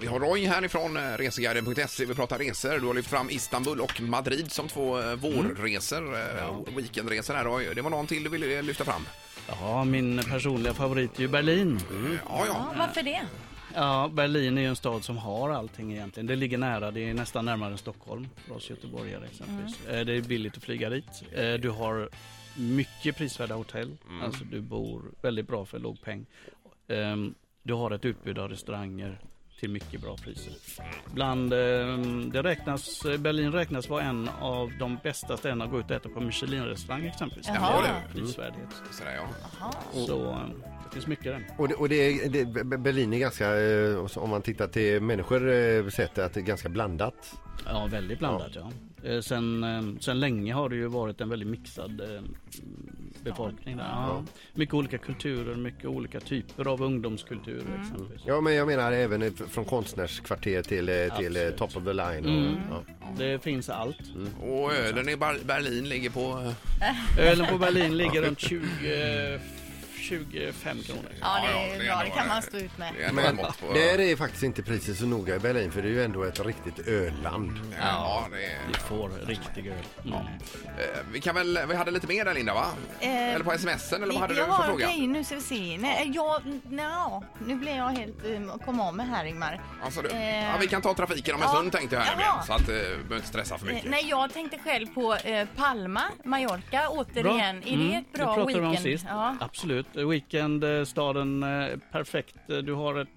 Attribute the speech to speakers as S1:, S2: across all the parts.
S1: Vi har Roy härifrån eh, reseguiden.se. Vi pratar resor. Du har lyft fram Istanbul och Madrid som två eh, vårresor, eh, weekendresor här Roy. Det var någon till du ville eh, lyfta fram.
S2: Ja, min personliga favorit är ju Berlin.
S1: Eh, Ja, ja.
S3: Ja, varför det?
S2: Ja, Berlin är ju en stad som har allting egentligen. Det ligger nära, det är nästan närmare än Stockholm för oss göteborgare exempelvis. Eh, Det är billigt att flyga dit. Eh, Du har mycket prisvärda hotell, alltså du bor väldigt bra för låg peng. Ehm, Du har ett utbud av restauranger till mycket bra priser. Bland, ehm, det räknas, Berlin räknas vara en av de bästa städerna att gå ut och äta på Michelin-restaurang exempelvis.
S3: Jaha. Ja, det är
S2: Prisvärdhet.
S1: Sådär, ja.
S2: Så ehm, det finns mycket där.
S4: Och, det, och det, det, Berlin är ganska, eh, och så om man tittar till människor eh, sett, att det är ganska blandat.
S2: Ja, väldigt blandat ja. Eh, Sen, eh, sen länge har det ju varit en väldigt mixad eh, befolkning där. Ja. Mycket olika kulturer, mycket olika typer av ungdomskulturer exempelvis.
S4: Ja, men jag menar även eh, fr- från konstnärskvarter till, eh, till eh,
S2: Absolut. Mm.
S4: top of the line. Och, ja.
S2: Det finns allt.
S1: Och ölen i Bar- Berlin ligger på... eh,
S2: Ölen på Berlin ligger runt 20, 25 kronor.
S3: Ja, det
S1: ja,
S3: är
S1: det är
S3: bra. Det
S1: nog-
S3: kan man stå ut med.
S1: det är ändå
S4: Men
S1: mått på-
S4: där är faktiskt inte priset så noga i Berlin för det är ju ändå ett riktigt öland.
S2: Mm.
S1: Ja, det är...
S2: Vi får riktig öl. Mm.
S1: eh, Vi kan väl... Vi hade lite mer där Linda, va?
S3: Eh,
S1: Eller på sms'en, eller vad hade
S3: jag
S1: du för
S3: har
S1: fråga?
S3: grejer nu ska vi se. Nej, jag, nja, nu blir jag helt, um, kom av mig här Ingmar.
S1: Alltså, du,
S3: Eh,
S1: ja, vi kan ta trafiken om en
S3: ja.
S1: stund tänkte jag här
S3: Jaha.
S1: nämligen, så att eh, du behöver inte stressa för
S3: Eh,
S1: mycket.
S3: Nej, jag tänkte själv på eh, Palma, Mallorca, återigen. Är
S1: Mm.
S3: det ett bra
S2: det Mm. pratade
S3: weekend?
S2: vi om sist.
S3: Ja.
S2: Absolut. Weekend, eh, staden, eh, perfekt. Eh, Du har ett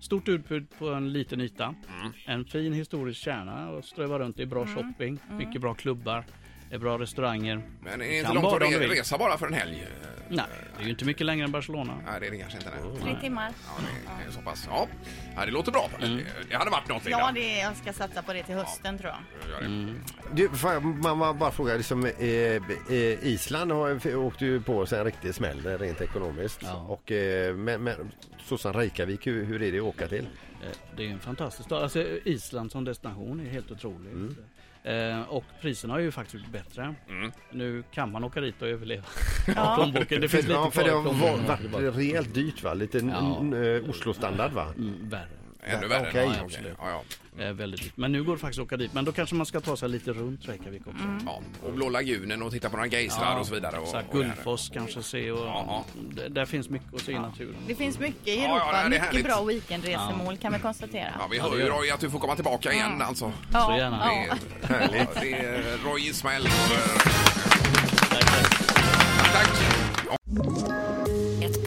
S2: stort utbud på en liten yta.
S4: Mm.
S2: En fin historisk kärna och ströva runt i bra
S3: Mm.
S2: shopping, mycket bra klubbar, eh, bra restauranger.
S1: Men är
S2: Du
S1: det inte
S2: kan
S1: långt
S2: bara
S1: att
S2: om du
S1: re-
S2: vill.
S1: resa bara för en helg? Eh,
S2: Nej, det är ju inte mycket längre än Barcelona.
S1: Nej, det är det kanske inte. Nej.
S3: Tre timmar.
S1: Ja, det är så pass. Ja, Ja, det låter bra. Det hade varit något, Linda.
S3: Ja, det, jag ska satsa på det till hösten tror jag.
S1: Gör det.
S4: Du, fan, man var bara frågar, liksom, eh, eh, Island har, åkte ju på sig en riktig smäll eh, rent ekonomiskt.
S2: Ja.
S4: Och, eh, men, men Susan Reykjavik, hur, hur är det att åka till?
S2: Eh, Det är en fantastisk stad. Alltså, Island som destination är helt otroligt.
S4: Mm.
S2: Eh, och priserna har ju faktiskt blivit bättre. Nu kan man åka dit och överleva. Ja. Plånboken, det finns
S4: för,
S2: lite
S4: ja, för
S2: kvar
S4: det
S2: i
S4: har
S2: plånboken.
S4: varit varit rejält dyrt va? Lite
S2: Ja.
S4: n- eh, Oslo-standard va?
S2: Mm, Värre.
S1: Ännu värre.
S4: Okej,
S1: ja,
S2: absolut.
S1: Ja, ja.
S2: Eh, väldigt dyrt. Men nu går det faktiskt att åka dit. Men då kanske man ska ta sig lite runt Reykjavik också.
S3: Mm.
S1: Ja, och Blå lagunen och titta på några geysrar och så vidare. Och,
S2: Så här,
S1: och
S2: Guldfoss kanske se och
S1: Ja.
S2: d- där finns mycket att se i naturen.
S3: Det finns mycket i
S1: ja,
S3: Europa.
S1: det är härligt.
S3: mycket bra weekendresemål kan vi konstatera.
S1: Ja, vi hör ju Roy att du får komma tillbaka igen alltså.
S3: Ja,
S2: Så gärna.
S1: Det är
S3: ja.
S1: härligt. Det är Roy Ismail. Tack.
S5: Ett